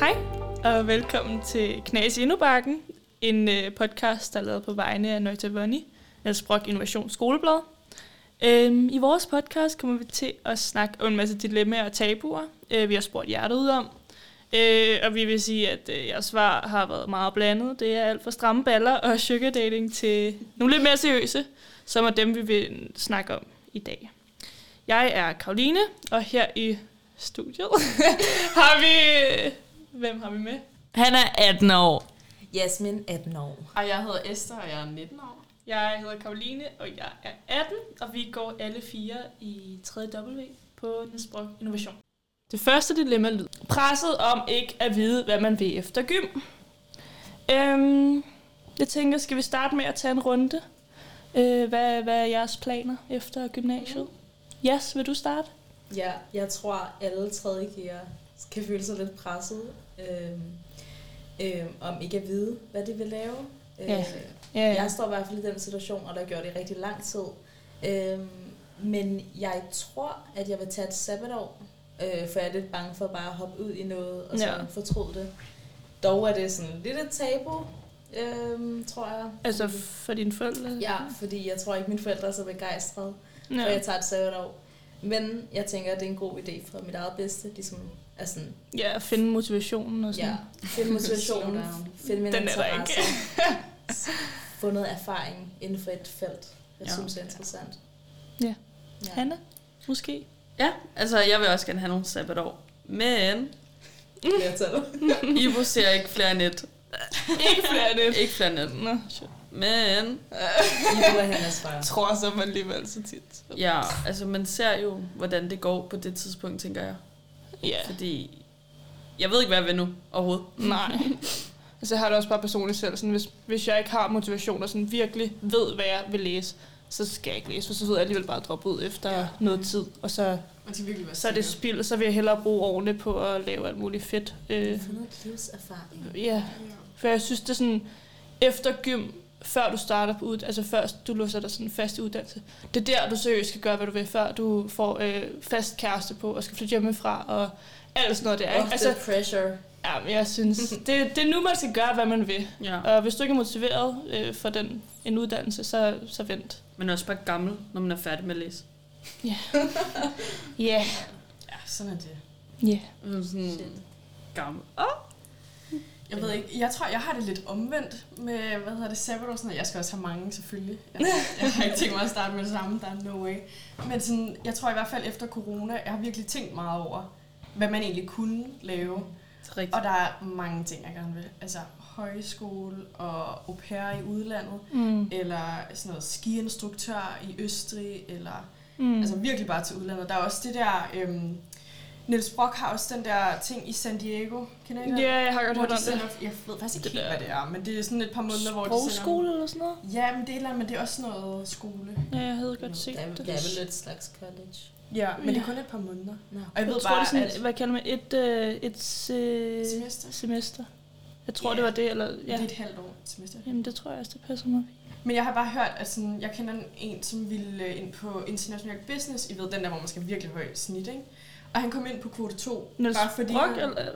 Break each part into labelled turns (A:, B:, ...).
A: Hej, og velkommen til Knas i Indobakken, en øh, podcast, der er lavet på vegne af Nøjta Vonny, Niels Brock Innovation Skoleblad. Øhm, I vores podcast kommer vi til at snakke om en masse dilemmaer og tabuer, øh, vi har spurgt jer ud om. Øh, og vi vil sige, at øh, jeres svar har været meget blandet. Det er alt fra stramme baller og sugar dating til nogle lidt mere seriøse, som er dem, vi vil snakke om i dag. Jeg er Karoline, og her i studiet har vi... Hvem har vi med?
B: Han er 18 år.
C: Jasmin 18 år.
D: Og jeg hedder Esther, og jeg er 19 år.
A: Jeg hedder Karoline, og jeg er 18, og vi går alle fire i 3W på Nesbrok Innovation. Det første dilemma lyder. Presset om ikke at vide, hvad man vil efter gym. Øhm, jeg tænker, skal vi starte med at tage en runde? Øh, hvad, hvad er jeres planer efter gymnasiet? Jas, vil du starte?
C: Ja, jeg tror, alle 3. gear kan føle sig lidt presset. Øhm, øhm, om ikke at vide, hvad de vil lave.
A: Ja.
C: Øh, Jeg står i hvert fald i den situation, og der gjorde det i rigtig lang tid. Øhm, men jeg tror, at jeg vil tage et sabbatår, øh, for jeg er lidt bange for bare at hoppe ud i noget og så
A: Ja.
C: fortryde det. Dog er det sådan lidt et tabu, øhm, tror jeg.
A: Altså for dine forældre?
C: Ja, fordi jeg tror ikke, mine forældre er så begejstrede. Ja. For
A: Ja.
C: jeg tager et sabbatår. Men jeg tænker, at det er en god idé for mit eget bedste. Ligesom, at sådan,
A: ja, at finde motivationen og sådan.
C: ja, finde motivationen,
D: Slow down.
C: finde min
A: Den er der
C: interesse. Få noget erfaring inden for et felt, jeg ja.
D: Ja.
C: synes er interessant.
A: Ja.
C: ja.
A: Hanna, måske?
D: Ja, altså jeg vil også gerne have nogle sabbatår. Men
C: Flertal.
D: Ivo ser ikke flere net.
A: ikke flere end
D: Ikke flere net.
A: Nå, shit.
D: Men
C: Ivo er Hannas far.
A: Jeg tror så man alligevel så tit.
D: ja, altså man ser jo, hvordan det går på det tidspunkt, tænker jeg.
A: Ja,
D: Fordi jeg ved ikke, hvad jeg vil nu overhovedet.
A: nej. Altså jeg har det også bare personligt selv, sådan, hvis, hvis jeg ikke har motivation og sådan virkelig ved, hvad jeg vil læse, så skal jeg ikke læse, for så ved jeg alligevel bare at droppe ud efter ja. noget tid, og så,
E: Og de er virkelig være
A: så er det
E: sikre.
A: spild, og så vil jeg hellere bruge årene på at lave alt muligt fedt. Øh,
C: Få noget livserfaring.
A: ja, for jeg synes, det er sådan, efter gym, før du starter på ud, altså før du låser dig sådan fast i uddannelse, det er der, du seriøst skal gøre, hvad du vil, før du får øh, fast kæreste på, og skal flytte hjemmefra, og alt sådan noget der.
C: Ja,
A: Ikke? Altså,
C: the pressure.
A: Ja, men jeg synes, det, det er nu, man skal gøre, hvad man vil.
D: Ja.
A: Og hvis du ikke er motiveret øh, for den, en uddannelse, så, så vent.
D: Men også bare gammel, når man er færdig med at læse.
A: Ja. Yeah.
E: Ja, sådan er det.
A: Yeah.
D: Mm, Sådan
C: Shit.
D: gammel. Oh.
E: Jeg ved ikke, jeg tror, jeg har det lidt omvendt med, hvad hedder det, sabbatår, sådan, at jeg skal også have mange, selvfølgelig. Jeg, jeg har ikke tænkt mig at starte med det samme, der er no way. Men sådan, jeg tror i hvert fald efter corona, jeg har virkelig tænkt meget over, hvad man egentlig kunne lave.
D: Det er rigtigt.
E: Og der er mange ting, jeg gerne vil. Altså højskole og au pair i udlandet,
A: Mm.
E: eller sådan noget skiinstruktør i Østrig, eller
A: Mm.
E: Altså virkelig bare til udlandet. Der er også det der... Øhm, Niels Brock har også den der ting i San Diego. Kender I den?
A: ja, jeg har godt
E: Hvor
A: hørt
E: de
A: om det.
E: sender, jeg ved faktisk
A: Det
E: ikke helt,
A: der-
E: hvad det er, men det er sådan et par måneder, hvor de sender...
A: Sprogskole eller sådan noget?
E: Ja, men det er, et eller andet, men det er også noget skole.
A: Ja, jeg havde
C: Nå,
A: godt set
C: der, er-
A: det.
C: der er vel et slags college.
E: Ja, men det er kun et par måneder.
C: Nå.
E: Og jeg ved
A: Jeg tror,
E: bare,
A: det er sådan,
E: at
A: et, hvad kalder man, et, øh, et se-
E: Semester.
A: semester. Jeg tror,
E: Ja.
A: det var det, eller...
E: ja. det
A: Ja.
E: er et halvt år semester.
A: Jamen, det tror jeg også, det passer mig.
E: Men jeg har bare hørt, at sådan, jeg kender en, som ville øh, ind på international business. I ved, den der, hvor man skal virkelig højt snit, ikke? Og han kom ind på kvote 2,
A: Niels
E: bare fordi...
A: Brock,
E: han-
A: eller...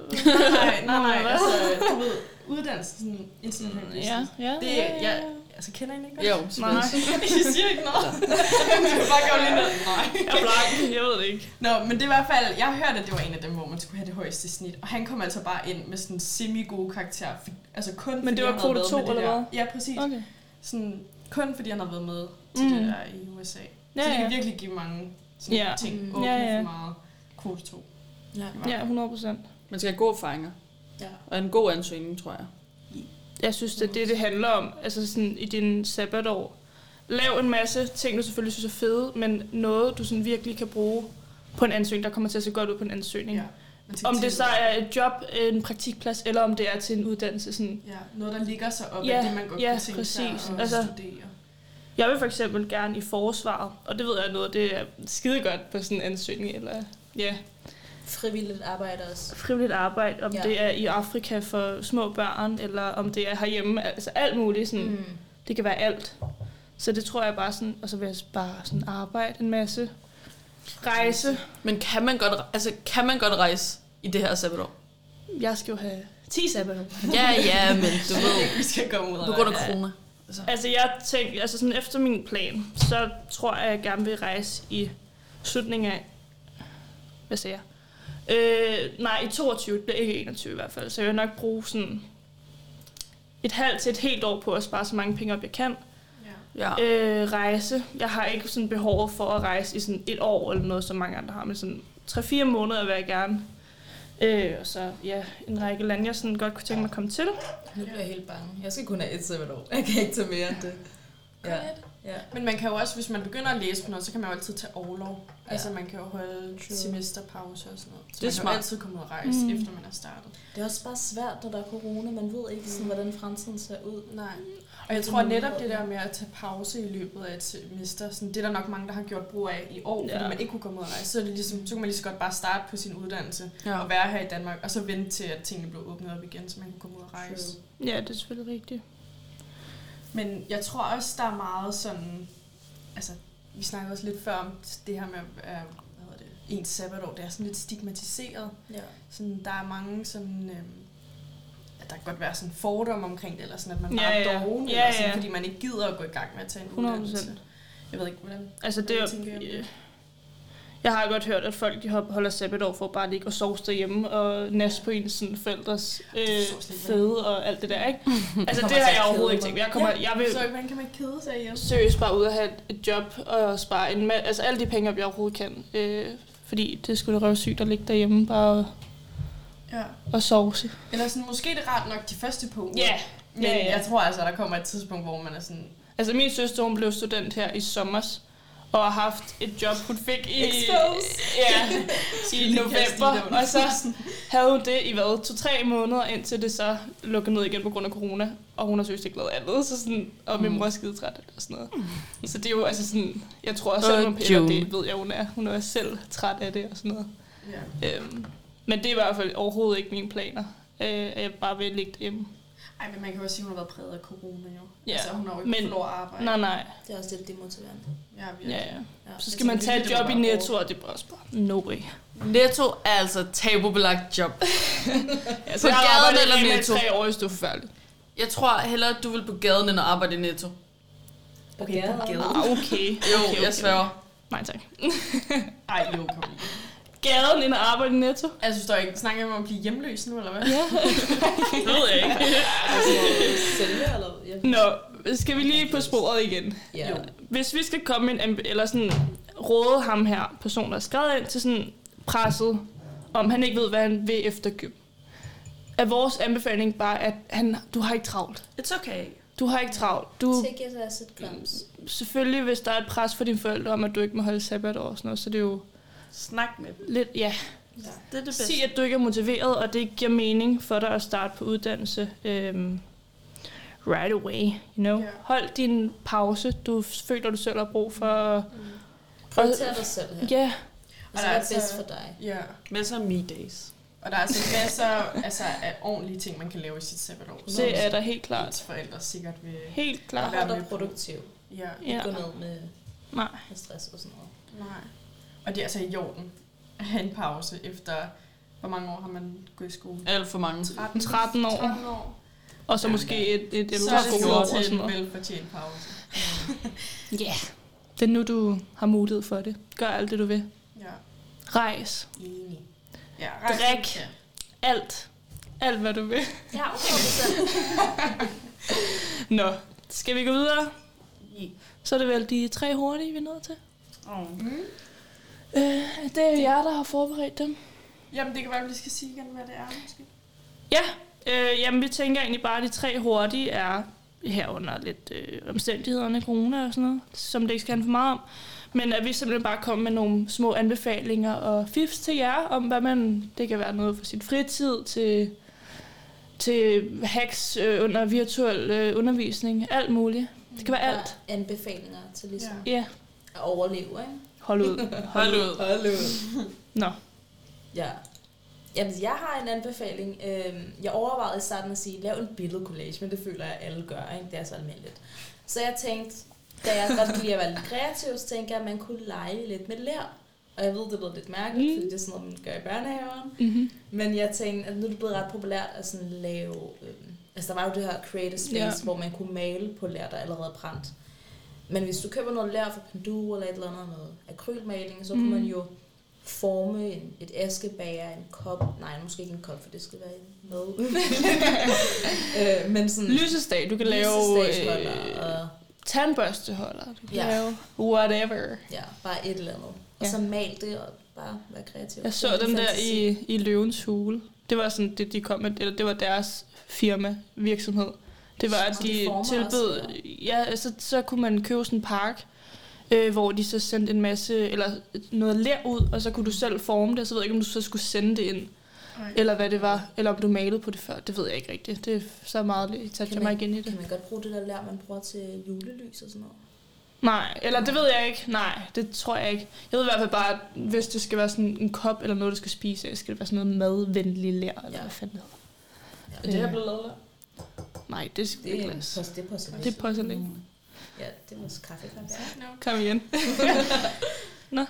E: nej, nej,
A: Nej,
E: nej,
A: hvad?
E: altså, du ved, uddannelse, sådan international business.
A: Ja, ja.
E: Det-
A: ja, ja,
E: jeg-
A: ja.
E: Altså, kender I den ikke godt?
D: Jo,
A: Nej.
E: I siger ikke noget. Du kan bare gøre lige noget. Nej.
A: Jeg er blank, jeg ved det ikke.
E: Nå, men det er i hvert fald, jeg hørte, at det var en af dem, hvor man skulle have det højeste snit. Og han kom altså bare ind med sådan semi-gode karakterer. F- Altså kun
A: Men
E: fordi
A: det var
E: han havde
A: kvote
E: været
A: to,
E: med det
A: eller
E: der.
A: hvad?
E: Ja, præcis. Okay.
A: Okay.
E: Sådan, kun fordi han har været med til mm.
A: Mm.
E: det der i USA. Ja, så det
A: Ja,
E: kan
A: ja.
E: virkelig give mange sådan,
A: Ja.
E: ting
C: Mm.
E: åbne
A: Ja,
E: ja,
A: ja.
E: ja. for meget. Kvote 2.
C: Ja.
A: Ja, 100 procent.
D: Man skal have gode erfaringer.
C: Ja.
D: Og en god ansøgning, tror jeg.
A: Jeg synes, det er det, det handler om. Altså sådan i din sabbatår. Lav en masse ting, du selvfølgelig synes er fede, men noget, du sådan virkelig kan bruge på en ansøgning, der kommer til at se godt ud på en ansøgning. Ja.
E: Ja. Men tænk
A: Om
E: til-
A: det så er et job, en praktikplads, eller om det er til en uddannelse. Sådan.
E: Ja, noget, der ligger sig op
A: Ja,
E: ja, af det, man godt
A: ja,
E: kunne tænke
A: præcis.
E: sig at
A: Altså-
E: altså, studere.
A: Jeg vil for eksempel gerne i forsvaret, og det ved jeg noget, det er skide godt på sådan en ansøgning, eller ja,
C: Frivilligt arbejde også.
A: frivilligt arbejde, om ja.
C: Ja.
A: det er i Afrika for små børn, eller om det er herhjemme, altså alt muligt. Sådan. Mm.
C: Mm.
A: Det kan være alt. Så det tror jeg bare sådan, og så vil jeg bare sådan arbejde en masse. Rejse.
D: Men kan man godt, altså, kan man godt rejse i det her sabbatår?
A: jeg skal jo have 10 sabbatår.
D: Ja, ja, men du ved,
E: Vi skal komme ud
D: på grund af corona. Altså,
A: Altså jeg tænkte, altså sådan efter min plan, så tror jeg, at jeg gerne vil rejse i slutningen af, hvad siger jeg? Øh, nej, i 22, det bliver ikke 21 i hvert fald, så jeg vil nok bruge sådan et halvt til et helt år på at spare så mange penge op, jeg kan.
E: Ja.
D: ja.
A: Øh, rejse. Jeg har ikke sådan behov for at rejse i sådan et år eller noget, som mange andre har, men sådan 3-4 måneder vil jeg gerne. Øh, og så ja, en række lande, jeg sådan godt kunne tænke mig at komme til.
C: Nu bliver jeg helt bange. Jeg skal kun have et sabbatår. Jeg kan ikke tage mere end det. Ja.
E: Ja.
C: ja.
E: Men man kan jo også, hvis man begynder at læse på noget, så kan man jo altid tage overlov. Ja. Altså man kan jo holde
C: True.
E: semesterpause og sådan noget.
D: Det
E: Så
D: er
E: man kan
D: smart.
E: jo altid komme ud og rejse,
A: Mm.
E: mm. efter man er startet.
C: Det er også bare svært, når der er corona. Man ved ikke,
A: Mm.
C: sådan, hvordan fremtiden ser ud.
E: Nej. Og jeg tror netop det der med at tage pause i løbet af et semester, sådan, det er der nok mange, der har gjort brug af i år, ja.
A: Ja.
E: fordi man ikke kunne komme ud og rejse. Så, er det ligesom, så kan man lige så godt bare starte på sin uddannelse
D: ja.
E: og være her i Danmark, og så vente til, at tingene blev åbnet op igen, så man kunne komme ud og rejse.
C: True.
A: Ja, det er selvfølgelig rigtigt.
E: Men jeg tror også, der er meget sådan... Altså, vi snakkede også lidt før om det her med, øh, hvad hedder det, ens sabbatår. Det er sådan lidt stigmatiseret.
C: Ja.
E: Sådan, der er mange sådan... Øh, at der kan godt være sådan fordomme omkring det, eller sådan, at man
A: Ja,
E: bare
A: ja.
E: er doven,
A: Ja,
E: eller sådan,
A: ja.
E: fordi man ikke gider at gå i gang med at tage en
A: 100
E: uddannelse. Jeg ved ikke, hvordan...
A: Altså det
E: Hvad
A: er,
E: tænker I om det?
A: øh, jeg har godt hørt, at folk de hop- holder sabbatår for bare at ligge og sove derhjemme og næste på ens sådan, forældres
E: Det forstår
A: øh,
E: jeg slet ikke,
A: fede og alt det der, ikke? Altså det
C: til
A: har
C: at
A: jeg overhovedet
C: kede
A: ikke tænkt. Jeg, kommer, jeg vil
E: Så hvordan kan man kede sig igen?
A: seriøst bare ud og have et- et job og spare en ma- altså alle de penge, op, jeg overhovedet kan. Øh, fordi det skulle da røve sygt at ligge derhjemme bare og,
E: Ja.
A: og sovse.
E: Eller sådan, måske er det rart nok de første par uger.
A: Ja,
E: Men
A: ja, ja.
E: jeg tror altså, der kommer et tidspunkt, hvor man er sådan...
A: Altså min søster, hun blev student her i sommer og har haft et job, hun fik
C: Øh.
A: i,
E: Exposed.
A: ja, i
E: lige kaste i
A: november.
E: lån.
A: Og så havde hun det i hvad, to-tre måneder, indtil det så lukkede ned igen på grund af corona. Og hun har søgt ikke lavet andet, så sådan, og
D: Mm.
A: min mor er skide træt og sådan noget. Så det er jo altså sådan, jeg tror også,
D: Og
A: at hun piller,
D: June.
A: det ved jeg, hun er. Hun er også selv træt af det og sådan noget.
E: Ja.
A: Øhm, men det er i hvert fald overhovedet ikke mine planer, øh, at jeg bare vil ligge hjemme.
E: Ej, men man kan jo også sige, at hun har været præget af corona jo.
A: Ja,
E: Ja, altså, hun har jo ikke
A: men-
E: men, fået lov at arbejde.
A: Nej, nej.
C: Det er også lidt demotiverende.
E: Ja, virkelig.
A: Ja, ja.
C: Ja.
A: Så skal man
E: tænker,
A: tage
E: det
A: et
E: er
A: job i
E: bare
A: Netto, og det er også bare, no way.
D: Netto er altså tabubelagt job.
A: Altså,
D: På
A: jeg har
D: gaden
A: arbejdet
D: eller
A: i Rema i
D: Netto?
A: tre år, hvis det er forfærdeligt.
D: Jeg tror hellere, at du vil på gaden, end at arbejde i Netto.
C: Okay, ja.
A: Ah, okay.
D: Jo,
A: okay, okay.
D: jeg sværger.
A: Nej, tak.
E: Ej, jo, kom lige.
A: Gaden ind og arbejde i Netto.
E: Altså, du står ikke snakker om at blive hjemløs nu, eller hvad?
A: Ja.
D: Det ved jeg ikke.
C: Altså, sælge eller? Ja.
A: Nå, skal vi lige på sporet igen.
C: ja.
E: Jo.
A: Hvis vi skal komme en, amb- eller sådan råde ham her, personen der er skrevet ind til sådan presset, om han ikke ved, hvad han vil efter gym. Er vores anbefaling bare, at han, du har ikke travlt.
D: It's okay.
A: Du har ikke travlt. Du,
C: Take it as it comes.
A: selvfølgelig, hvis der er et pres for dine forældre om, at du ikke må holde sabbatår og sådan noget, så det er jo
D: Snak med dem.
A: lidt, ja,
C: Ja.
D: Det er det bedste.
A: Sig, at du ikke er motiveret, og det giver mening for dig at starte på uddannelse øhm, right away. You know?
E: Ja.
A: Hold din pause. Du f- føler, du selv har brug for...
E: Mm.
C: Prioriter dig selv her.
A: Ja, yeah.
E: Og
C: Altså,
E: der
C: hvad
E: er
C: er
E: altså-
C: bedst for dig?
E: Ja.
D: Masser af me-days.
E: Og der er altså masser altså, af ordentlige ting, man kan lave i sit sabbatår.
A: det er da helt klart.
E: Ens forældre sikkert vil...
A: Helt
C: Og
A: klart.
E: være
C: hold dig
E: med på-
C: produktiv.
E: Ja,
A: Ja.
C: Gå ned med,
A: Nej.
C: med stress og sådan noget.
E: nej. Og det er altså i orden at have en pause efter... Hvor mange år har man gået i skole?
D: Alt for mange.
E: 13,
A: 13 år.
E: 13 år.
A: Og så måske et, et
E: Så er det
A: ældre og
E: tid
A: sådan
E: til en
A: noget.
E: velfortjent pause.
A: Ja. Yeah. Det er nu, du har mulighed for det. Gør alt det, du vil.
E: Ja,
A: Rejs.
E: enig. Ja,
A: Drik.
E: Ja.
A: Alt. Alt, hvad du vil.
C: Ja, okay. Så.
A: Nå, skal vi gå videre? Så er det vel de tre hurtige, vi er nået til.
D: Oh.
E: Mm.
A: Øh, det er jo jer, der har forberedt dem.
E: Jamen, det kan være, at vi skal sige igen, hvad det er, måske.
A: Ja, øh, jamen vi tænker egentlig bare, at de tre hurtige er herunder lidt øh, omstændighederne, corona og sådan noget, som det ikke skal handle for meget om. Men at vi simpelthen bare kommer med nogle små anbefalinger og fifs til jer, om hvad man, det kan være noget for sin fritid til, til hacks øh, under virtuel øh, undervisning, alt muligt. Det kan være alt.
C: Anbefalinger til ligesom
A: Ja, yeah.
C: at overleve, ikke?
A: hold ud.
D: Hold ud.
C: Hold ud.
A: Nå,
C: Ja. Jamen, jeg har en anbefaling. Øhm, Jeg overvejede i starten at sige, lav en billedcollage, men det føler jeg, at alle gør. Ikke? Det er så almindeligt. Så jeg tænkte, da jeg godt kan lide at være lidt kreativ, så tænkte jeg, at man kunne lege lidt med lær. Og jeg ved, det er blevet lidt mærkeligt, mm. fordi det er sådan noget, man gør i børnehaven.
A: Mm-hmm.
C: Men jeg tænkte, at nu er det blevet ret populært at sådan lave... Øh, altså, der var jo det her creative space,
A: Ja.
C: ja. hvor man kunne male på lær, der allerede er brændt. Men hvis du køber noget lær fra Panduro eller et eller andet noget akrylmaling, så mm.
A: Mm.
C: kunne man jo forme en, et æskebager, en kop. Nej, måske ikke en kop, for det skal være en med. øh, men sådan...
A: Lysestag, du kan lave
C: lysestagsholder
A: øh,
C: og,
A: tandbørsteholder, du kan
C: Ja.
A: lave whatever.
C: ja, bare et eller andet. Og
A: Ja.
C: så mal det og bare være kreativ.
A: Jeg
C: Det er
A: så
C: min
A: den der
C: fantasi.
A: i, i Løvens Hule. Det var sådan, det, de kom med, eller det var deres firma, virksomhed. Det var, at
C: Så de
A: de
C: former også,
A: tilbød, ja, så, så kunne man købe sådan en park, øh, hvor de så sendte en masse, eller noget lær ud, og så kunne du selv forme det, og så ved jeg ikke, om du så skulle sende det ind,
E: Ej.
A: eller hvad det var, eller om du malede på det før, det ved jeg ikke rigtigt. Det er så meget, jeg tager
C: Kan
A: mig
C: man-
A: igen i
C: Kan
A: det.
C: man godt bruge det der lær, man bruger til julelys og sådan noget?
A: Nej, eller det ved jeg ikke, nej, det tror jeg ikke. Jeg ved i hvert fald bare, at hvis det skal være sådan en kop, eller noget, du skal spise, af, skal det være sådan noget madvenlig lær, eller
C: Ja.
A: hvad fanden det hedder.
C: Ja.
D: Er det her blevet lavet der?
A: Nej, det skal
C: Det
A: ikke
C: er,
A: glas.
C: det er på sig.
A: Det er porcelæn.
C: Ja, det var også kaffe.
A: Kom igen.
C: Andre,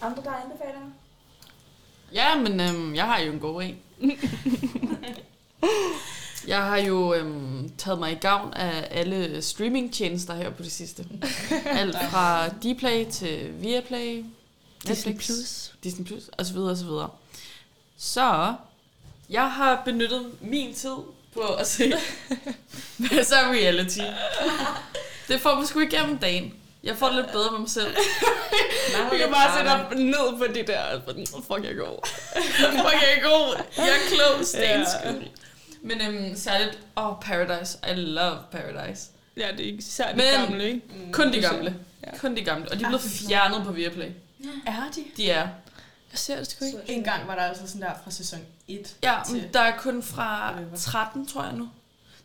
C: der anbefaler?
D: Ja, men øhm, jeg har jo en god en. jeg har jo øhm, taget mig i gavn af alle streamingtjenester her på det sidste. Alt fra Dplay til Viaplay, Netflix, Disney Plus og så videre og så videre. Så jeg har benyttet min tid på at se masser af reality. Det får mig sgu igennem dagen. Jeg får det lidt bedre med mig selv. Jeg kan bare sætte op ned på det der. Fuck, jeg er god. Fuck, jeg er god. Jeg er klog, Stens
A: Ja.
D: skyld. Men øhm, særligt, åh, oh, Paradise. I love Paradise.
A: Ja, det er ikke især det
D: Men-
A: gamle, ikke?
E: Mm.
D: Kun de gamle.
A: Ja.
D: Kun de gamle. Og de er blevet fjernet på Viaplay.
E: Mm. Er de?
D: De er.
A: Jeg ser det sgu ikke.
E: En gang var der altså sådan der fra sæson 1.
D: Ja,
E: til-
D: men der er kun fra
E: Whatever.
D: 13, tror jeg nu.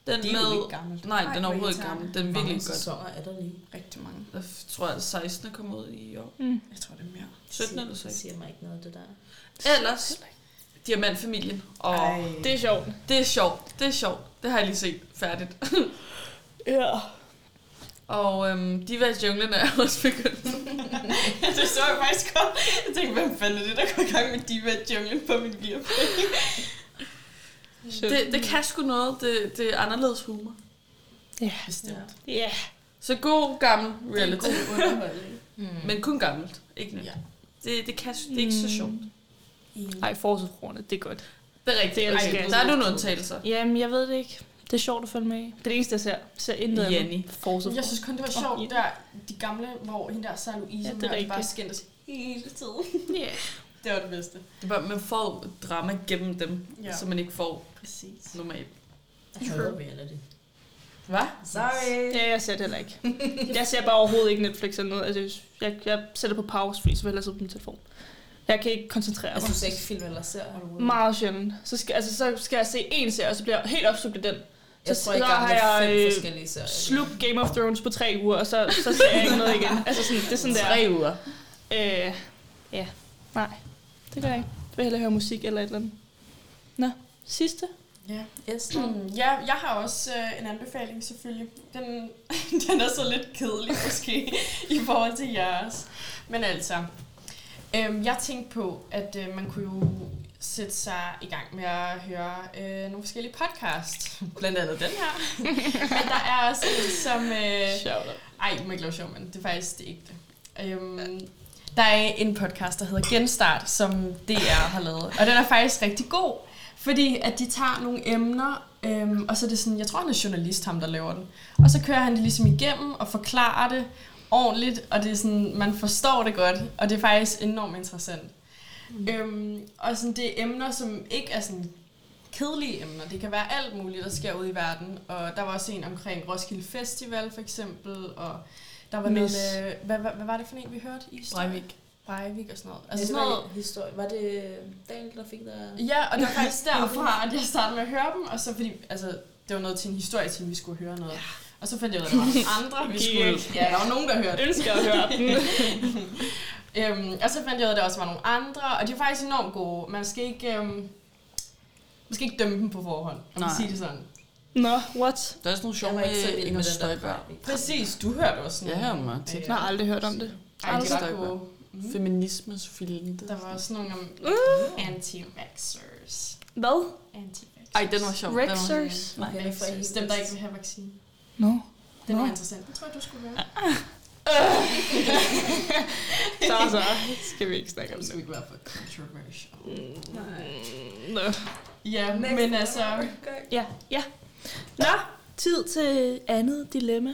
D: Den
E: Det er jo
D: med...
E: ikke gammelt.
D: Nej, den er
E: hvor
D: overhovedet ikke
E: irriterende.
D: gammel. Den er
C: Hvor
D: virkelig
C: mange
D: ikke godt.
C: sæsoner er der lige?
E: Rigtig mange.
D: Jeg tror, at 16 er kommet ud i år.
A: Mm.
E: Jeg tror, det er mere.
D: 17 eller
C: Det siger-
D: 16.
C: siger mig ikke noget, det der.
D: Ellers, Diamantfamilien. Og
E: Ej.
A: Det er sjovt.
D: det er sjovt. Det er sjovt. Det har jeg lige set færdigt.
A: Ja.
D: Og øhm, Divas Junglen er også begyndt.
E: Ja, det så jeg faktisk godt. Jeg tænkte, hvem fanden er det, der går i gang med Diva Junglen på min gear?
D: Det, det kan sgu noget. Det, det er anderledes humor.
E: Bestemt.
A: Ja.
D: Så god gammel reality.
E: underholdning.
C: Mm.
D: Men kun gammelt. Ikke nyt.
E: Ja.
D: Det, det, kan, det er ikke så
A: Mm.
D: sjovt.
A: Ej, forårsfruerne, det er godt.
D: Det er rigtigt.
A: Det elsker
D: Ej,
A: jeg.
D: der er nogle undtagelser.
A: Jamen, jeg ved det ikke. Det er sjovt at følge med i. Det er det eneste, jeg ser. Jeg ser intet andet.
D: Jenny.
A: Forårsfruerne.
E: Jeg synes kun, det var
A: Åh,
E: sjovt,
A: ja.
E: der de gamle, hvor hende der Sarah Louise
A: Ja,
E: ja,
A: det er
E: det bare
A: rigtigt.
E: skændtes hele tiden.
A: Ja.
E: Det var det bedste.
D: Det var, man får drama gennem dem, ja.
E: Ja.
D: som man ikke får
E: Præcis.
D: normalt.
C: Jeg hader reality.
D: Hvad?
C: Sorry.
A: Ja, jeg ser det heller ikke. Jeg ser bare overhovedet ikke Netflix eller noget. Altså, jeg, jeg sætter på pause, fordi så vil jeg hellere sidde på min telefon. Jeg kan ikke koncentrere mig.
C: Altså, du ser ikke film eller ser?
A: Meget sjældent. Så skal, altså, så skal jeg se en serie, og så bliver jeg helt opslugt af den.
C: Jeg
A: så
C: tror, jeg
A: sidder-
C: har
A: har jeg,
C: fem
A: øh,
C: forskellige serier.
A: Sluk Game of Thrones på tre uger, og så, så ser jeg ikke noget igen. Altså sådan, det er sådan der.
D: uger.
A: Øh, ja, nej. Det gør jeg ikke. Jeg vil hellere høre musik eller et eller andet. Nå, sidste.
E: Ja.
C: Esther.
E: ja, jeg har også øh, en anbefaling selvfølgelig. Den, den er så lidt kedelig måske i forhold til jeres. Men altså, øhm, jeg tænkte på, at øh, man kunne jo sætte sig i gang med at høre øh, nogle forskellige podcasts. Blandt andet den her. Men der er også en, som... Øh,
A: Sjovt.
E: ej, du må ikke lave sjov, men det er faktisk det ægte. Øhm, der er en podcast, der hedder Genstart, som DR har lavet. Og den er faktisk rigtig god, fordi at de tager nogle emner, øhm, og så er det sådan, jeg tror, han er journalist, ham der laver den. Og så kører han det ligesom igennem og forklarer det ordentligt, og det er sådan, man forstår det godt, og det er faktisk enormt interessant. Mm. Øhm, og sådan, det er emner, som ikke er sådan kedelige emner. Det kan være alt muligt, der sker ude i verden. Og der var også en omkring Roskilde Festival, for eksempel. Og der var
A: Miss.
E: noget med... Øh, Hvad, hvad, hvad var det for en, vi hørte? I Støj?
D: Breivik.
E: Breivik og sådan noget.
C: Altså,
E: Altså sådan noget.
C: var, historie. var det øh, Daniel, der fik der?
E: Ja, og det var faktisk derfra, at jeg startede med at høre dem. Og så fordi... Altså, det var noget til en historietime, vi skulle høre noget. Og så fandt jeg ud af, at der var nogle andre, vi
A: Gik
E: skulle...
A: ikke.
E: Ja, der var nogen, der hørte
A: Jeg ønsker at høre den.
E: Øhm, og så fandt jeg ud af, at der også var nogle andre, og de er faktisk enormt gode. Man skal ikke, øhm, man skal ikke dømme dem på forhånd, om
D: Nej.
E: man siger det sådan.
A: Nå, what?
D: Der er sådan nogle
C: Jeg
D: sjove
C: var ikke så
D: med
C: vild
D: Inger
C: med den der.
D: Støjberg.
E: Præcis, du hørte også
D: Ja,
E: nogle.
D: man.
E: Øh,
A: Jeg har aldrig hørt om det.
E: Ej, de er ret
D: Støjberg.
E: gode. Mm.
D: Feminismes filter.
E: Der var også nogle om anti-vaxxers.
A: Uh, Hvad?
E: Anti-vaxxers.
D: Ej, den var sjov. Den var...
A: Rexers?
D: Nej,
C: Okay, for
E: Vaxxers.
C: helt-
E: Dem, der ikke vil have vaccine.
A: Nå. No.
E: Den var
A: Nå.
E: interessant. Det tror jeg, du skulle høre.
A: Så så skal vi ikke snakke om det.
E: ikke være for controversial.
A: Mm, Nå.
E: Ja, men altså...
A: Ja, ja. Nå, tid til andet dilemma.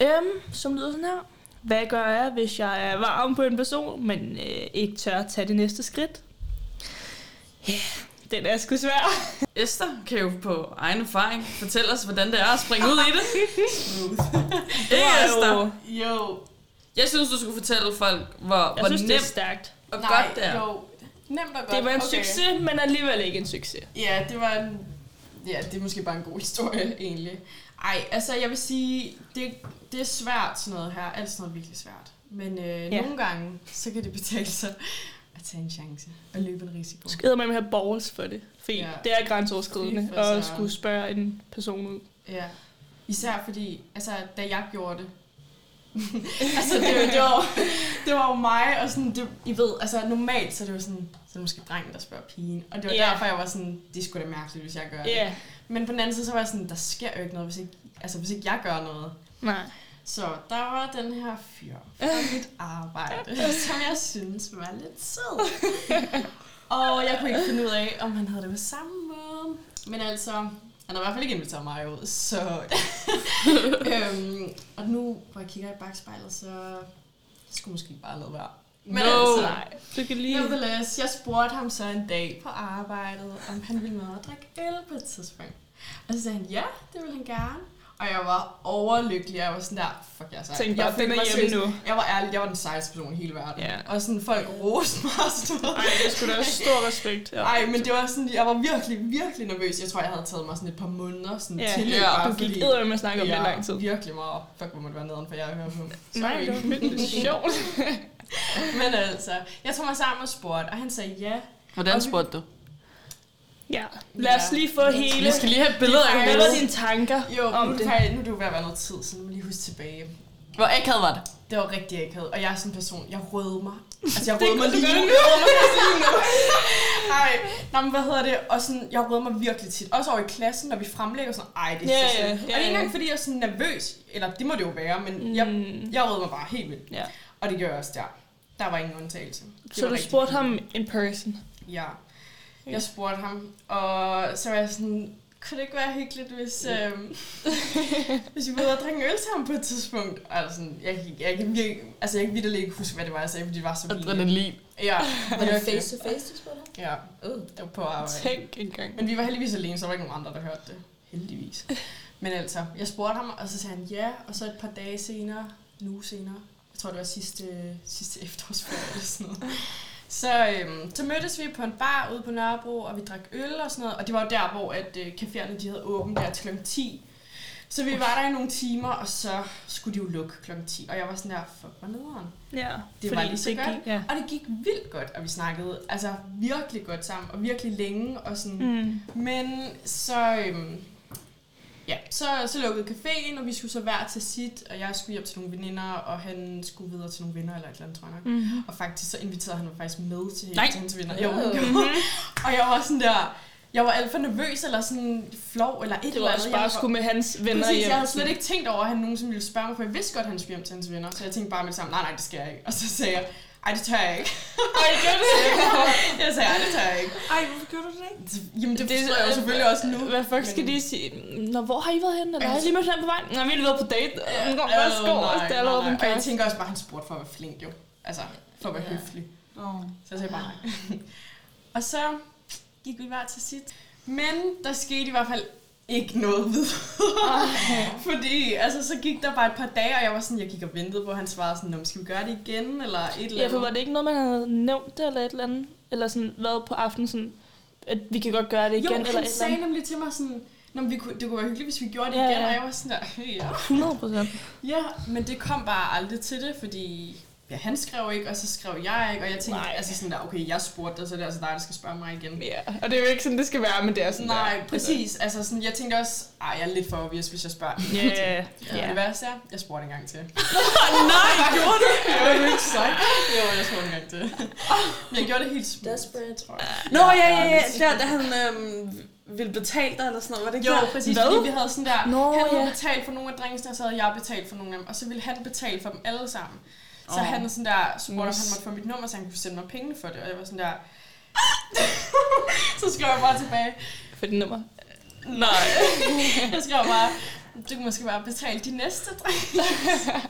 A: Øhm, som lyder sådan her. Hvad gør jeg, hvis jeg er varm på en person, men øh, ikke tør at tage det næste skridt? Ja, den er sgu svær.
D: Esther kan jo på egen erfaring fortælle os, hvordan det er at springe ud i det. Ikke, Esther?
E: Jo,
D: Jeg synes, du skulle fortælle folk, hvor,
A: Jeg
D: hvor
A: synes, det er
D: nemt
A: stærkt.
D: og godt det er.
E: Jo, nemt og godt.
A: Det var en okay. succes, men alligevel ikke en succes.
E: Ja, det var en, ja, det er måske bare en god historie, egentlig. Ej, altså jeg vil sige, det, det er svært sådan noget her. Alt sådan noget er virkelig svært. Men øh, ja. nogle gange, så kan det betale sig at tage en chance og løbe en risiko.
A: Skrider man med at have balls for det. Fordi
E: Ja.
A: ja. det er grænseoverskridende
E: Fy for
A: at
E: søren.
A: skulle spørge en person ud.
E: Ja. Især fordi, altså, da jeg gjorde det, altså, det, var- det, var, det var jo mig, og sådan, det, I ved, altså, normalt, så er det jo sådan, så er det måske drengen, der spørger pigen, og det var
A: Ja.
E: derfor, jeg var sådan, det skulle da mærkeligt, hvis jeg gør det.
A: Ja,
E: Men på den anden side, så var jeg sådan, der sker jo ikke noget, hvis ikke, altså, hvis ikke jeg gør noget.
A: nej.
E: Så der var den her fyr fra mit arbejde, som jeg synes var lidt sød. Og jeg kunne ikke finde ud af, om han havde det på samme måde. Men altså, han har i hvert fald ikke inviteret mig ud, så... øhm, og nu, hvor jeg kigger i bagspejlet, så... Jeg skulle måske bare lade være. Men
D: No.
E: altså,
A: Nej. Du kan lige...
E: Nevertheless, jeg spurgte ham så en dag på arbejdet, om han ville med at drikke øl på et tidspunkt. Og så sagde han, ja, det ville han gerne. Og jeg var overlykkelig, jeg var sådan der, fuck jeg er sej.
A: Tænk
E: jeg
A: bare,
E: følte
A: den er
E: mig
A: hjemme
E: seriøst-
A: nu.
E: Jeg var ærlig, jeg var den sejeste person i hele verden.
A: Ja.
E: Og sådan folk roste mig og sådan noget.
A: Ej, det skulle da også stor respekt. Ja.
E: Ej, men det var sådan, jeg var virkelig, virkelig nervøs. Jeg tror, jeg havde taget mig sådan et par måneder sådan
A: Ja.
E: til.
D: Ja,
E: bare
A: Du gik
E: fordi-
A: edder med at snakke om det
E: Ja,
A: i lang tid.
E: virkelig meget. Fuck, hvor må det være nederen, for jeg hører på.
A: Nej, det var virkelig sjovt.
E: Men altså, jeg tog mig sammen og spurgte, og han sagde ja.
D: Hvordan spurgte du?
A: Ja, lad os lige få hele...
D: Vi skal lige have billeder af
E: Det er
A: Hvad var
D: hovedet.
A: dine tanker
E: Jo,
A: om
E: nu, er
A: det?
E: det. Faktisk, nu er det jo ved at være noget tid, så nu må jeg lige huske tilbage.
D: Hvor akavet var det?
E: Det var rigtig akavet, og jeg er sådan en person, jeg rødede mig. Altså, jeg rødede mig
A: kunne
E: lige
A: du
E: nu.
A: godt.
E: Jeg rødede mig faktisk lige nu. Ej, nå, men hvad hedder det? Og sådan, jeg rødede mig virkelig tit. Også over i klassen, når vi fremlægger sådan, ej, det er
A: Ja,
E: yeah, så
A: ja,
E: yeah, yeah, Og det
A: ja,
E: er ikke
A: ja.
E: engang, fordi jeg er sådan nervøs. Eller det må det jo være, men mm. jeg,
A: Mm.
E: jeg rødede mig bare helt vildt.
A: Ja.
E: Og det gjorde jeg også der. Der var ingen undtagelse. Det
A: Så
E: var
A: du
E: rigtig
A: spurgte
E: fint.
A: ham in person.
E: Ja. Jeg spurgte ham, og så var jeg sådan, kunne det ikke være hyggeligt, hvis, øh, hvis vi var ude og drikke en øl sammen på et tidspunkt? Og jeg var sådan, jeg, kan- jeg kan virkelig, altså jeg kan vitterligt ikke huske, hvad det var, jeg sagde, fordi det var så vildt.
D: Adrenalin.
E: Ja,
C: Var det
E: virkelig.
C: face to face, du spurgte ham?
E: Ja,
C: Uh.
E: det var på arbejde.
A: Tænk engang.
E: Men vi var heldigvis alene, så der var ikke nogen andre, der hørte det. Heldigvis. Men altså, jeg spurgte ham, og så sagde han ja, og så et par dage senere, en uge senere, jeg tror det var sidste, sidste efterårsferie eller sådan noget, så, øhm, så mødtes vi på en bar ude på Nørrebro, og vi drak øl og sådan noget, og det var jo der, hvor at, øh, caféerne de havde åbent der til kl. 10. Så vi var der i nogle timer, og så skulle de jo lukke kl. 10, og jeg var sådan der, fuck, hvor nederen.
A: Ja,
E: Det var lige så
A: det
E: godt.
A: gik- Ja.
E: Og det gik vildt godt, og vi snakkede altså virkelig godt sammen, og virkelig længe, og sådan,
A: Mm.
E: men så, øhm, ja, så, så lukkede caféen, og vi skulle så hver til sit, og jeg skulle hjem til nogle veninder, og han skulle videre til nogle venner eller et eller andet, tror jeg nok.
A: Mm.
E: Og faktisk så inviterede han mig faktisk med til,
D: Nej.
E: til hans venner.
C: Åh.
E: Jo, jo. og jeg var sådan der, jeg var alt for nervøs, eller sådan flov, eller et
A: Det
E: eller
A: var
E: andet.
A: også
E: Jeg
A: bare
E: var-
A: at skulle med hans venner
E: Præcis,
A: hjem.
E: jeg havde slet ikke tænkt over, at han nogensinde ville spørge mig, for jeg vidste godt, at han skulle hjem til hans venner. Så jeg tænkte bare med det samme, nej, nej, det skal jeg ikke. Og så sagde jeg, ej, det tør jeg ikke. Ej, det gør det. jeg sagde, ej, det tør jeg ikke.
D: Ej, hvorfor gjorde du det ikke?
E: Jamen, det, det forstår jeg jo selvfølgelig også nu.
A: Hvad fuck skal
E: men-
A: de sige? Nå, hvor har I været henne? Eller har I
E: Altså-
A: lige mødt hinanden på vejen? Nå, vi har lige været på date. Nå,
E: Øh,
A: værsgo.
E: nej,
A: Altså, Det er allerede
E: nej,
A: en
E: nej. Og jeg
A: kæreste.
E: tænker også bare, at han spurgte for at være flink jo. Altså, for at være
C: Ja.
E: høflig.
D: Oh.
E: Så jeg sagde bare nej. og så gik vi hver til sit. Men der skete i hvert fald ikke noget videre. Fordi altså, så gik der bare et par dage, og jeg var sådan, jeg gik og ventede på, at han svarede sådan, "Nå, men skal vi gøre det igen, eller et eller andet.
A: Ja, for var det ikke noget, man havde nævnt det, eller et eller andet? Eller sådan været på aftenen sådan, at vi kan godt gøre det igen,
E: jo,
A: eller et
E: han
A: eller
E: sagde
A: andet?
E: nemlig til mig sådan, Nå, men vi kunne, det kunne være hyggeligt, hvis vi gjorde det
A: Ja,
E: igen,
A: ja.
E: og jeg var sådan der, ja.
A: 100 procent.
E: Ja, men det kom bare aldrig til det, fordi ja, han skrev ikke, og så skrev jeg ikke, og jeg tænkte,
A: Nej.
E: Nej. altså sådan der, okay, jeg spurgte dig, så er det altså dig, der skal spørge mig igen.
A: Ja, og det er jo ikke sådan, det skal være, men det er sådan
E: Nej, præcis. Altså sådan, jeg tænkte også, ej, jeg er lidt for obvious, hvis jeg spørger.
A: Ja,
E: Ja.
A: ja.
E: Det værste er, jeg spurgte en gang til.
D: Nej, gjorde du?
E: Det var jo ikke sagt. Jo, jeg tror engang det. Men jeg gjorde det helt smooth.
C: Desperate.
E: tror jeg.
D: Nå, ja, ja, ja. Der, da han øhm, ville betale dig eller sådan noget, var det ikke
E: Jo,
D: der?
E: præcis,
D: Hvad?
E: fordi vi havde sådan der,
D: Nå,
E: han havde
D: ja.
E: betalt for nogle af drengene, og så havde jeg betalt for nogle af dem, og så ville han betale for dem alle sammen. Så
D: Åh.
E: oh. han sådan der, spurgte, om
D: Yes.
E: han måtte få mit nummer, så han kunne sende mig penge for det, og jeg var sådan der, så skrev jeg bare tilbage,
A: For dit nummer.
E: nej, jeg skrev bare, du kan måske bare betale de næste drenge.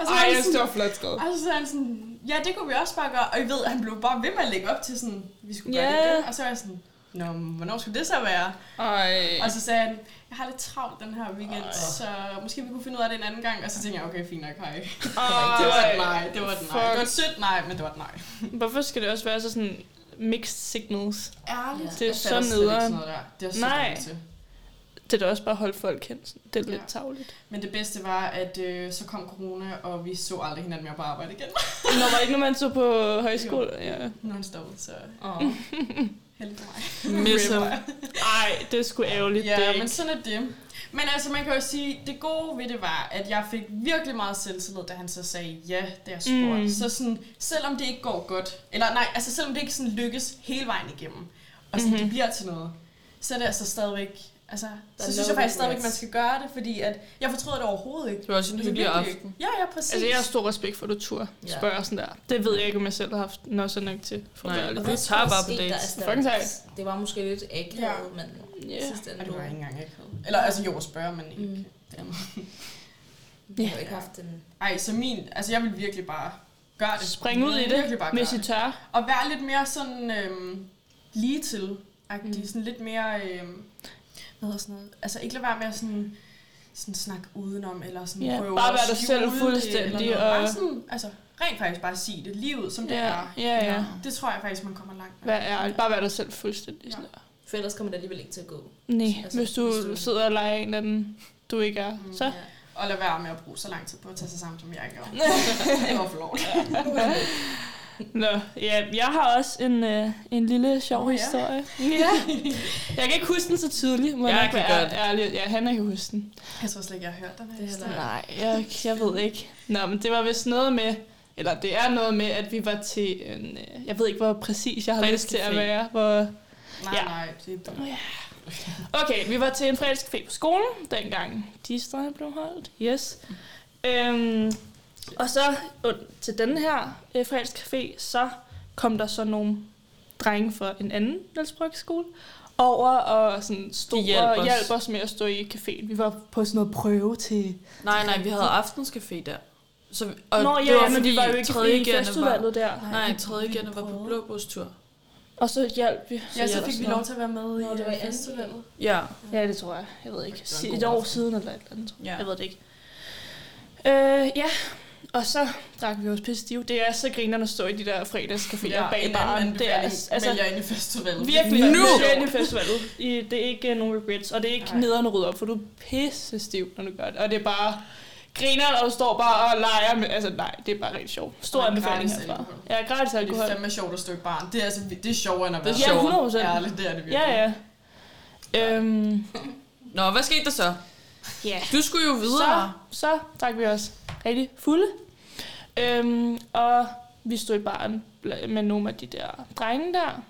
E: Og så var han sådan-
A: var flot skrevet.
E: Og så sagde han sådan, ja, det kunne vi også bare gøre. Og I ved, han blev bare ved med at lægge op til sådan, vi skulle gøre
A: Ja.
E: det igen. Og så var jeg sådan, Nå, men hvornår skulle det så være?
A: Ej.
E: Og så sagde han, jeg har lidt travlt den her weekend,
A: Ej.
E: så måske vi kunne finde ud af det en anden gang. Og så tænkte jeg, okay, fint nok, hej.
A: Ej.
E: Det var et nej, det var et nej. Det var et
A: Fuck.
E: sødt nej, men det var et nej.
A: Hvorfor skal det også være så sådan mixed signals?
E: Ærligt.
A: Det er
E: Jeg
A: så
E: fatter slet ikke
A: nederen.
E: sådan noget der. Det er så
A: Nej.
E: dårligt til.
A: Det er da også bare at holde folk kendt. Det er
E: Ja.
A: lidt tavligt.
E: Men det bedste var, at øh, så kom corona, og vi så aldrig hinanden mere på arbejde igen.
A: Når var det ikke, når man så på højskole? Ja.
E: Nu er han stoppet, så øh,
C: Oh.
E: heldig for mig.
D: Misse.
A: Ej, det er sgu ærgerligt. det er
E: Ja,
A: ikke-
E: men sådan er det. Men altså, man kan jo sige, det gode ved det var, at jeg fik virkelig meget selvtillid, da han så sagde ja, da jeg spurgte.
A: Mm.
E: Mm. Så sådan, selvom det ikke går godt, eller nej, altså selvom det ikke sådan lykkes hele vejen igennem, og sådan, mm-hmm.
A: Mhm.
E: det bliver til noget, så er det altså stadigvæk, altså,
C: er
E: så synes
C: no
E: jeg faktisk stadigvæk, man
C: regrets.
E: skal gøre det, fordi at jeg fortryder det overhovedet ikke.
D: Det var også en
E: Altså,
D: hyggelig
E: virkelig
D: aften.
E: ikke. Ja, ja, præcis.
A: Altså, jeg har stor respekt for, at du tur
C: Ja.
A: spørger sådan der. Det ved jeg ikke, om jeg selv har haft nok så nok til. For
D: Nej.
A: Nej.
D: Og
A: Ærlig.
D: vi tager bare på dates.
A: Fucking sejt.
C: Det var måske lidt akavet,
E: Ja.
C: men
A: Ja.
C: sidste ende,
E: og
C: du
E: det var ikke engang ikke. Eller altså, jo, at spørge, men ikke.
C: Mm.
E: Mm.
C: du har ikke haft en...
E: Ej, så min, altså jeg vil virkelig bare gøre det.
A: Spring ud i
E: Virkelig
A: det,
E: bare gøre
A: hvis I tør.
E: Og være lidt mere sådan øhm, lige til mm. sådan lidt mere, øhm, hvad hedder sådan noget, altså ikke lade være med at sådan, sådan snakke udenom, eller sådan
A: Ja,
E: prøve
A: bare
E: at
A: være dig
E: skjule
A: selv
E: det,
A: fuldstændig,
E: eller noget.
A: og-
E: Bare sådan, altså rent faktisk bare sige det, lige ud, som det
A: Ja,
E: er.
A: ja, ja.
E: Det tror jeg faktisk, man kommer langt med.
A: Vær ærlig. Bare vær dig selv fuldstændig. Sådan
E: Ja.
A: der.
C: For ellers kommer det alligevel ikke til at gå.
A: Nej,
C: Altså,
A: hvis du,
C: hvis du-
A: sidder og leger en eller anden, du ikke er,
E: Mm.
A: så...
C: Ja.
E: Og lade være med at bruge så lang tid på at tage sig sammen, som jeg gjorde. det var for lovligt.
A: Nå, ja, jeg har også en, øh, en lille sjov
E: Nå, ja.
A: historie. Ja. Jeg kan ikke huske den så tydeligt, må jeg,
D: Jeg
A: nok
D: kan
A: være
D: godt.
A: ærlig. Ja, han kan huske den.
E: Jeg tror slet ikke, jeg har hørt den her
C: Det er
E: historie.
C: heller
A: Nej, jeg, jeg ved ikke. Nå, men det var vist noget med, eller det er noget med, at vi var til en, øh, jeg ved ikke, hvor præcis jeg har lyst til at
D: Fredagscafé.
A: være. Hvor,
E: Nej,
A: Ja.
E: nej, det er dumt.
A: Okay, vi var til en fredagscafé på skolen, dengang de stadig blev holdt. Yes. Øhm, og så øh, til den her øh, fredagscafé, så kom der så nogle drenge fra en anden Niels Brygge skole over og sådan stod
D: De hjalp
A: og
D: os.
A: hjalp os med at stå i caféen. Vi var på sådan noget prøve til...
D: Nej, nej, vi havde aftenscafé der. Så, vi- og
A: Nå
D: det
A: ja,
D: var,
A: ja men vi
D: fordi
A: var jo ikke
D: tredje
A: i
D: gerne
A: festudvalget
D: Var,
A: der.
D: nej, tredje gerne var på blåbustur.
A: Og så hjalp vi.
E: Ja, så
A: hjalp
E: fik
A: os
E: vi
A: noget.
E: lov til at være med øh,
C: Nå, det var i anden
E: festivalet.
D: Ja,
A: Ja, det tror jeg. Jeg ved ikke.
E: Det var en
A: Et
E: god
A: år
E: aften.
A: siden eller et eller andet, tror jeg.
D: Ja.
A: Jeg ved det ikke. Øh, ja, og så drak vi også pisse stive. Det er så grinerne at stå i de der fredagscaféer ja, bag baren. Det er
E: altså,
A: altså,
E: vælger ind i festivalet.
A: virkelig
D: Nu!
A: nu! i festivalet. I, det er ikke uh, nogen regrets, og det er ikke
E: Nej.
A: nederen at rydde op, for du er pisse stiv, når du gør det. Og det er bare griner, og du står bare og leger med... Altså nej, det er bare rigtig sjovt. Stor
E: Og
A: anbefaling
E: gratis
A: herfra.
E: alkohol.
A: Ja, gratis
E: Det
A: alkohol.
E: er fandme sjovt at stå i barn. Det er, altså, det er sjovere end at
D: Det
E: være
D: er
A: Ja,
D: sjovt.
A: 100 procent.
E: Ærligt, det er det virkelig.
A: Ja, ja. Øhm,
D: Nå, hvad skete der så?
A: ja.
D: Du skulle jo videre.
A: Så, så drak vi os rigtig fulde. Øhm, og vi stod i baren bla- med nogle af de der drenge der.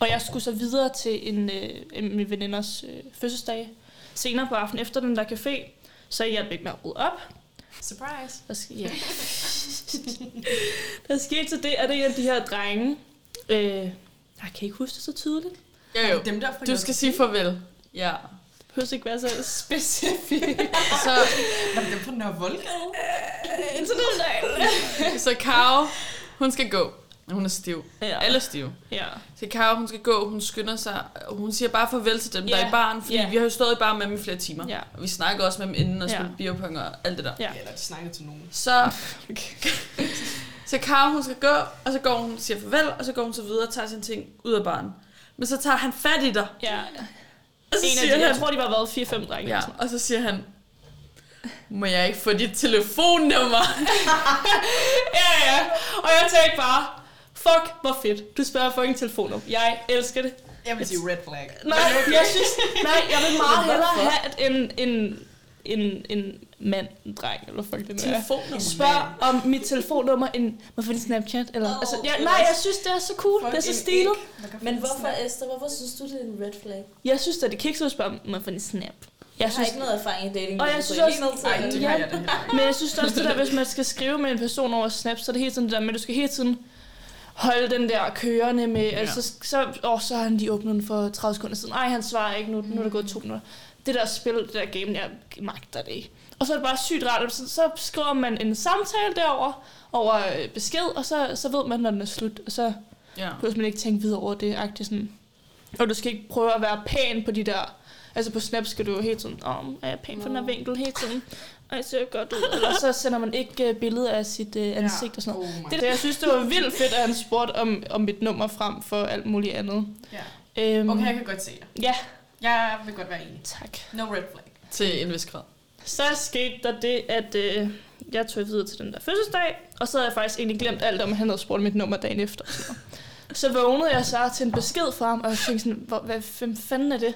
A: Og jeg skulle så videre til en, øh, en min veninders øh, fødselsdag senere på aftenen efter den der café. Så jeg hjalp ikke med at rydde op.
E: Surprise.
A: Der, sk- ja. der skete så det, at en af de her drenge... Øh, jeg kan ikke huske det så tydeligt.
D: Jo, jo.
E: Dem der fra
D: Du skal sige farvel. Ja.
A: Det behøver ikke være så specifikt.
D: Så,
E: Var det dem fra Nørre Voldgade?
A: en sådan en dag.
D: så Karo, hun skal gå. Hun er stiv.
A: Ja.
D: Alle er stive.
A: ja.
D: Så Karo, hun skal gå, hun skynder sig. og Hun siger bare farvel til dem, der
A: Ja.
D: er i baren, fordi
A: Ja.
D: vi har jo stået i baren med dem i flere timer.
A: Ja.
D: Og vi snakkede også med dem inden og
A: Ja.
D: spillede biopong og alt det der.
A: Ja.
E: Ja, eller de snakkede til nogen.
D: Så, så Karo, hun skal gå, og så går hun siger farvel, og så går hun så videre og tager sine ting ud af baren. Men så tager han fat i dig,
A: ja.
D: og
A: en
D: så
A: af
D: siger
A: de, jeg
D: han,
A: tror, de var været 4-5 drenge.
D: ja,
A: Ja.
D: og så siger han, må jeg ikke få dit telefonnummer?
A: ja, ja. Og jeg tænkte bare, fuck, hvor fedt. Du spørger fucking telefon om. Jeg elsker det.
E: Jeg vil sige red flag.
A: Nej, jeg synes, nej, jeg vil meget hellere have at en, en, en, en mand, en dreng, eller fuck det nu er.
D: Telefonnummer.
A: Spørg om mit telefonnummer en, hvorfor en Snapchat, eller,
C: Åh,
A: altså,
C: det
A: ja,
C: er
A: nej,
C: også-
A: jeg synes, det er så cool, det er så stilet.
C: Men hvorfor, Esther, hvorfor synes du, det er en red flag?
A: Jeg synes, at det kan ikke så spørge, om man får en snap.
C: Jeg
A: Jeg
C: har
A: synes,
C: ikke noget erfaring i dating.
A: Og jeg
C: så
A: synes
C: er
A: også-
C: helt nødt til
E: Nej,
C: at-
E: det
A: Ja.
E: har jeg da heller ikke.
A: men jeg synes også, det der, hvis man skal skrive med en person over snap, så er det hele tiden det der med, at du skal hele tiden holde den der kørende med, ja. altså, så, åh, så har han lige åbnet den for 30 sekunder siden. Ej, han svarer ikke nu, nu er der gået to minutter. Det der spil, det der game, jeg magter det ikke. Og så er det bare sygt rart, at så, så skriver man en samtale derover over øh, besked, og så, så ved man, når den er slut, og så
D: Ja.
A: behøver man ikke tænke videre over det, agtigt sådan. Og du skal ikke prøve at være pæn på de der... Altså på Snap skal du jo hele tiden, om oh, er jeg pæn på den her
C: Nå.
A: vinkel hele tiden? Ej, ser jeg godt ud. Eller så sender man ikke øh, billeder af sit øh, ansigt og sådan noget.
E: Oh my
A: Det, der, jeg synes, det var vildt fedt, at han spurgte om, om mit nummer frem for alt muligt andet.
E: Ja.
A: Øhm,
E: Okay, jeg kan godt se dig.
A: Ja,
E: Jeg vil godt være enig.
A: tak.
E: No red flag.
D: Til en vis grad.
A: Så skete der det, at øh, jeg tog videre til den der fødselsdag, og så havde jeg faktisk egentlig glemt alt om, at han havde spurgt mit nummer dagen efter. og sådan noget. Så vågnede jeg så til en besked fra ham, og jeg tænkte sådan, hvor, hvad hvem fanden er det?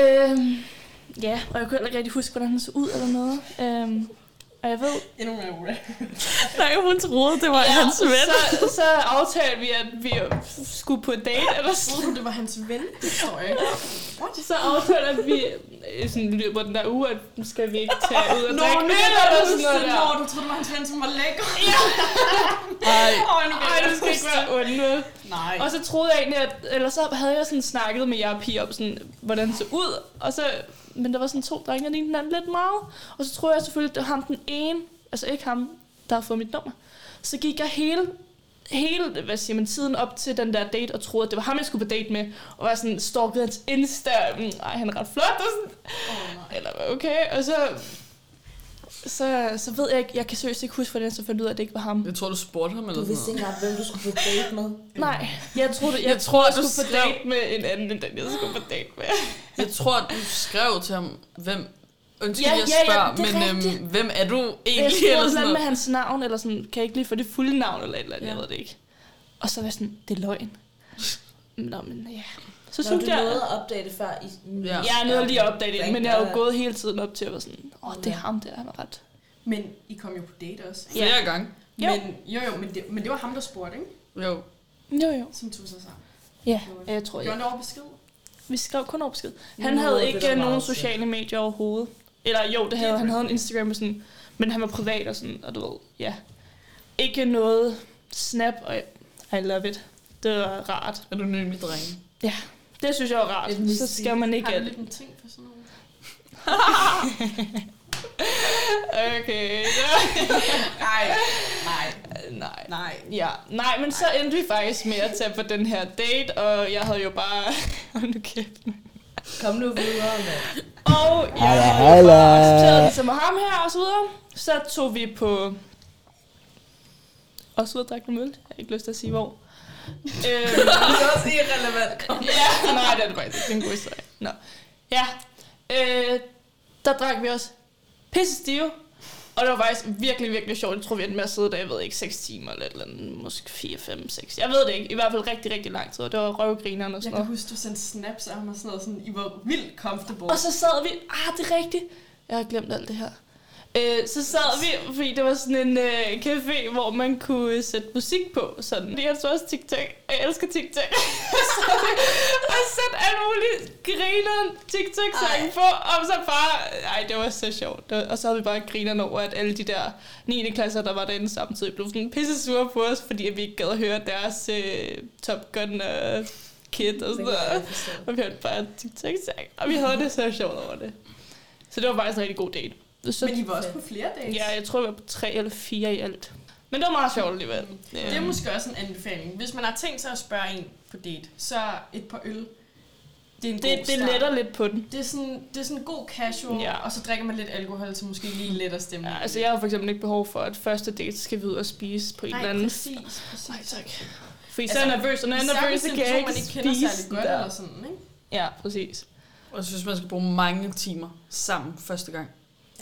A: Øhm, ja, og jeg kunne heller ikke rigtig huske, hvordan han så ud eller noget. Øhm, og jeg ved,
E: Endnu mere red.
B: Nej, hun troede, det var ja, hans ven.
A: så, så aftalte vi, at vi skulle på date eller sådan
E: Troede du, det var hans ven? Det forstår jeg ikke. What?
A: Så aftaler vi øh, sådan i løbet af den der uge, at nu skal vi ikke tage ud og
E: Nå,
A: drikke
E: nu
A: øl
E: er
A: eller
E: du
A: sådan noget
E: sådan,
A: der.
E: Nå, du troede, det var hans ven, som var lækker.
D: Ej,
E: Åh, nu
A: Ej, du skal ikke være ond nu.
E: Nej.
A: Og så troede jeg egentlig, at, eller så havde jeg sådan snakket med jer piger om, sådan, hvordan det så ud, og så, men der var sådan to drenge, der lignede hinanden lidt meget, og så troede jeg selvfølgelig, at det var ham den ene, altså ikke ham, der har fået mit nummer. Så gik jeg hele, hele, hvad siger man, tiden op til den der date, og troede, at det var ham, jeg skulle på date med, og var sådan, stalkede hans Insta, mm, ej, han er ret flot, og sådan,
E: Åh, nej.
A: eller okay, og så, så, så ved jeg ikke, jeg kan seriøst ikke huske, hvordan jeg så fandt ud af, at det ikke var ham.
D: jeg tror, du spurgte ham
C: Du
D: eller
C: vidste
D: sådan
C: ikke engang, hvem du skulle på date med.
A: Nej, jeg troede, jeg,
D: Jeg tror,
A: jeg
D: du
A: skulle på
D: skrev-
A: date med en anden, end den, jeg skulle på date med.
D: noget. Jeg tror, du skrev til ham, hvem... Undskyld,
A: Ja,
D: jeg
A: ja, ja,
D: spørger,
A: det er
D: men øhm,
A: rigtigt.
D: hvem er du
A: Jeg
D: egentlig?
A: spurgte
D: eller
A: blandt andet
D: sådan
A: med
D: noget.
A: hans navn, eller sådan, kan jeg ikke lige få det fulde navn, eller et eller andet,
D: Ja.
A: jeg ved det ikke. Og så var jeg sådan, det er løgn. Nå, men ja. Så
C: Så Når du
A: synes jeg...
C: nåede at opdage det før i...
D: Ja.
A: Jeg er nødt lige at opdage det,
C: Thank
A: men jeg har jo
C: God.
A: gået hele tiden op til at være sådan, åh, det er ham der, han er ret.
E: Men I kom jo på date også.
A: Ja.
D: Flere gange.
A: Jo.
E: Men, jo, jo, men det, men det var ham, der spurgte, ikke?
D: Jo.
A: Jo, jo.
E: Som tog sig sammen.
A: Ja,
E: Gjorde
A: jeg tror,
E: Gjorde
A: jeg.
E: han det over besked?
A: Vi skrev kun opsked. Han
C: Nå, det
A: havde
C: er
A: ikke
C: da
A: øh, nogen
C: meget
A: sociale medier overhovedet. Eller jo, det havde han. Han havde en Instagram, og sådan, men han var privat og sådan, og du ved, ja. Ikke noget snap, og I love it. Det var rart.
D: Anonyme drenge.
A: Det synes jeg er rart.
C: Et mystik.
A: Så skal man ikke...
E: Har du
A: alt-
E: lidt en ting for sådan noget?
A: Okay. Ja.
E: Nej, nej,
A: Nej.
E: nej.
A: Ja, nej, men så endte vi faktisk med at tage på den her date, og jeg havde jo bare... Hold nu kæft. mand.
C: Kom nu videre, mand.
A: Og jeg havde jo bare accepteret ligesom ham her og så videre. Så tog vi på... Og så ud og drak noget øl. Jeg har ikke lyst til at sige hvor. øhm,
C: Det er også irrelevant.
A: ja, nej, det er det faktisk. ikke. Det er en god historie. Nå. Ja, øh, der drak vi også pisse stive. Og det var faktisk virkelig, virkelig sjovt. Jeg tror, vi endte med at sidde der, jeg ved ikke, 6 timer eller et eller andet. Måske 4, 5, 6. Jeg ved det ikke. I hvert fald rigtig, rigtig lang tid. Og det var røvgrinerne og
E: Jeg
A: sådan
E: kan
A: noget.
E: huske, du sendte snaps af ham og sådan noget, sådan, I var vildt comfortable.
A: Og så sad vi... Ah, det er rigtigt. Jeg har glemt alt det her. Øh, så sad vi, fordi det var sådan en øh, café, hvor man kunne øh, sætte musik på. Sådan. Det er så også TikTok, og jeg elsker TikTok. så og sætte alle mulige griner TikTok-sange på, og så bare... Ej, det var så sjovt. Det var, og så havde vi bare griner over, at alle de der 9. klasser, der var derinde samtidig, blev sådan pisse sure på os, fordi at vi ikke gad at høre deres øh, Top Gun og Kid og sådan noget. Og vi hørte bare tiktok tak og vi havde det så sjovt over det. Så det var faktisk en rigtig god date. Så,
E: Men I var også på flere dates.
A: ja, jeg tror, vi var på tre eller fire i alt. Men det var meget sjovt alligevel. Øhm,
E: Det er måske også en anbefaling. Hvis man har tænkt sig at spørge en på date, så et par øl. Det er en god
A: det, det
E: start.
A: letter lidt på den.
E: Det er sådan, det er sådan god casual,
A: Ja.
E: ja. og så drikker man lidt alkohol, så måske lige letter stemningen.
A: Ja, altså, jeg har for eksempel ikke behov for, at første date skal vi ud og spise på en eller
E: Nej,
A: anden...
E: præcis, præcis.
A: Nej, tak. Fordi så er jeg
E: Altså,
A: nervøs, og når jeg er
E: Især
A: nervøs,
E: hvis
A: så
E: det
A: kan
E: er
A: jeg
E: en person,
A: ikke
E: man ikke kender
A: spise
E: særlig
A: den
E: godt
A: der.
E: eller sådan, ikke?
A: Ja, præcis.
D: Og jeg synes, man skal bruge mange timer sammen første gang.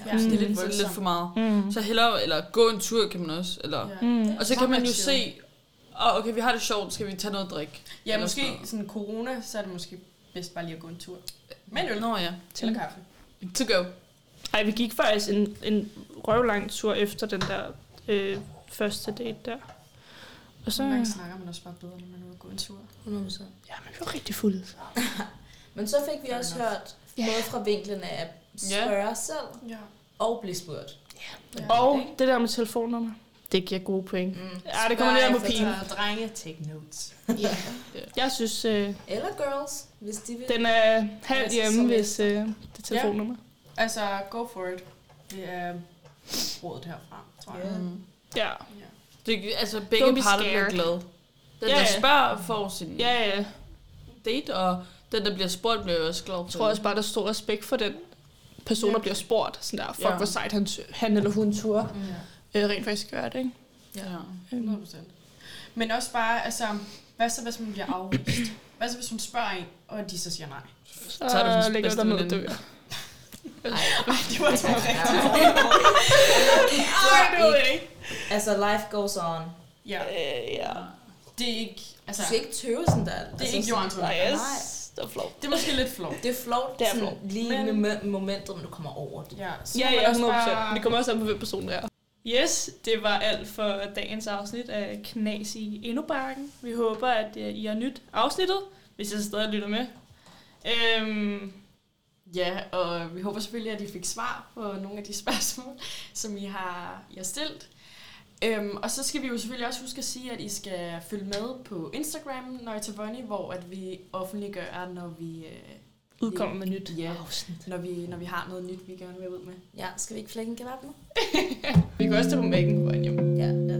E: Ja.
D: Så det
A: Mm.
D: er lidt, voldsomt. lidt for meget.
A: Mm.
D: Så hellere, eller gå en tur kan man også, eller...
E: Ja.
A: Mm.
D: Og så kan man jo
E: Sommerchill.
D: se, åh, okay, vi har det sjovt, skal vi tage noget drik?
E: Ja,
D: Eller
E: måske
D: sådan noget.
E: sådan corona, så er det måske bedst bare lige at gå en tur. Men øl
D: Nå ja,
E: eller kaffe.
D: to go.
A: Ej, vi gik faktisk en, en røvlang tur efter den der øh, første date der. Og så...
E: Nogle gange snakker man også bare bedre, når man er ude og gå en tur.
C: 100%.
A: Ja, man blev rigtig fuld. Så.
C: Men så fik vi også
E: Fair enough.
C: hørt, både fra vinklen af at spørge selv
E: Ja.
C: og blive spurgt.
E: ja.
A: Og det der med telefonnummer, det giver gode point.
C: Mm.
A: Ja, det kommer lidt an på pigen.
E: Drenge, take notes.
C: altså, Ja.
A: Jeg synes, øh,
C: Eller girls, hvis de vil.
A: den er halvt
C: Altså,
A: hjemme,
C: som
A: hvis øh, det er telefonnummer.
E: Altså, go for it. Det er rådet herfra, tror jeg.
C: Ja.
D: Mm.
A: Ja.
E: Ja.
D: Det, altså, begge
A: Don't be
D: parter bliver
A: scared.
D: glade. Den,
A: Ja,
D: der
A: ja.
D: spørger, får sin
A: Ja, ja. Jeg
D: date, og den, der bliver spurgt, bliver jo også glad. for
A: tror
D: det.
A: også bare, der er stor respekt for den person, der bliver spurgt. Sådan der, fuck,
D: Ja.
A: hvor sejt han, t- han eller hun turde
E: Ja.
A: øh, rent faktisk gøre det, ikke?
D: Ja.
A: Øhm,
E: 100%. Men også bare, altså, hvad så, hvis man bliver afvist? Hvad så, hvis hun spørger en, og de så siger nej?
A: Så,
D: Så er det
A: så
D: hendes
A: ligger du
D: bedste
A: der med at dø.
D: veninde.
E: Ej, det var så rigtigt.
A: Ej, det ved jeg ikke.
C: Altså, life goes on.
E: Ja,
A: Øh, ja.
E: det er ikke,
C: Du
E: altså,
C: skal ikke tøve sådan der.
E: det er ikke Johan
A: Nej,
E: Antonia.
A: yes.
C: Nej.
A: Det er flot.
E: Det er måske lidt flot.
C: Det er flot,
A: Det er
C: sådan
A: flovt.
C: lige
E: Men-
C: med momentet, men du kommer over det.
E: Ja, så
A: Ja,
E: må man
A: ja,
E: også
A: 100
E: bare-
A: Det kommer også an på, hvem personen er. Yes, det var alt for dagens afsnit af Knas i Indobarken. Vi håber, at øh, I har nyt afsnittet, hvis jeg stadig lytter med. Øhm,
E: Ja, og vi håber selvfølgelig, at I fik svar på nogle af de spørgsmål, som I har, I har stillet. Øhm, og så skal vi jo selvfølgelig også huske at sige, at I skal følge med på Instagram, Nøjta Bonnie, hvor at vi offentliggør, når vi, øh,
A: udkommer med nyt.
E: ja,
C: Afsnit.
E: når vi, når vi har noget nyt, vi gerne vil ud med.
C: Ja, skal vi ikke flække en kebab nu?
A: Vi kan også tage på mækken på vejen hjem.
C: Ja, lad os.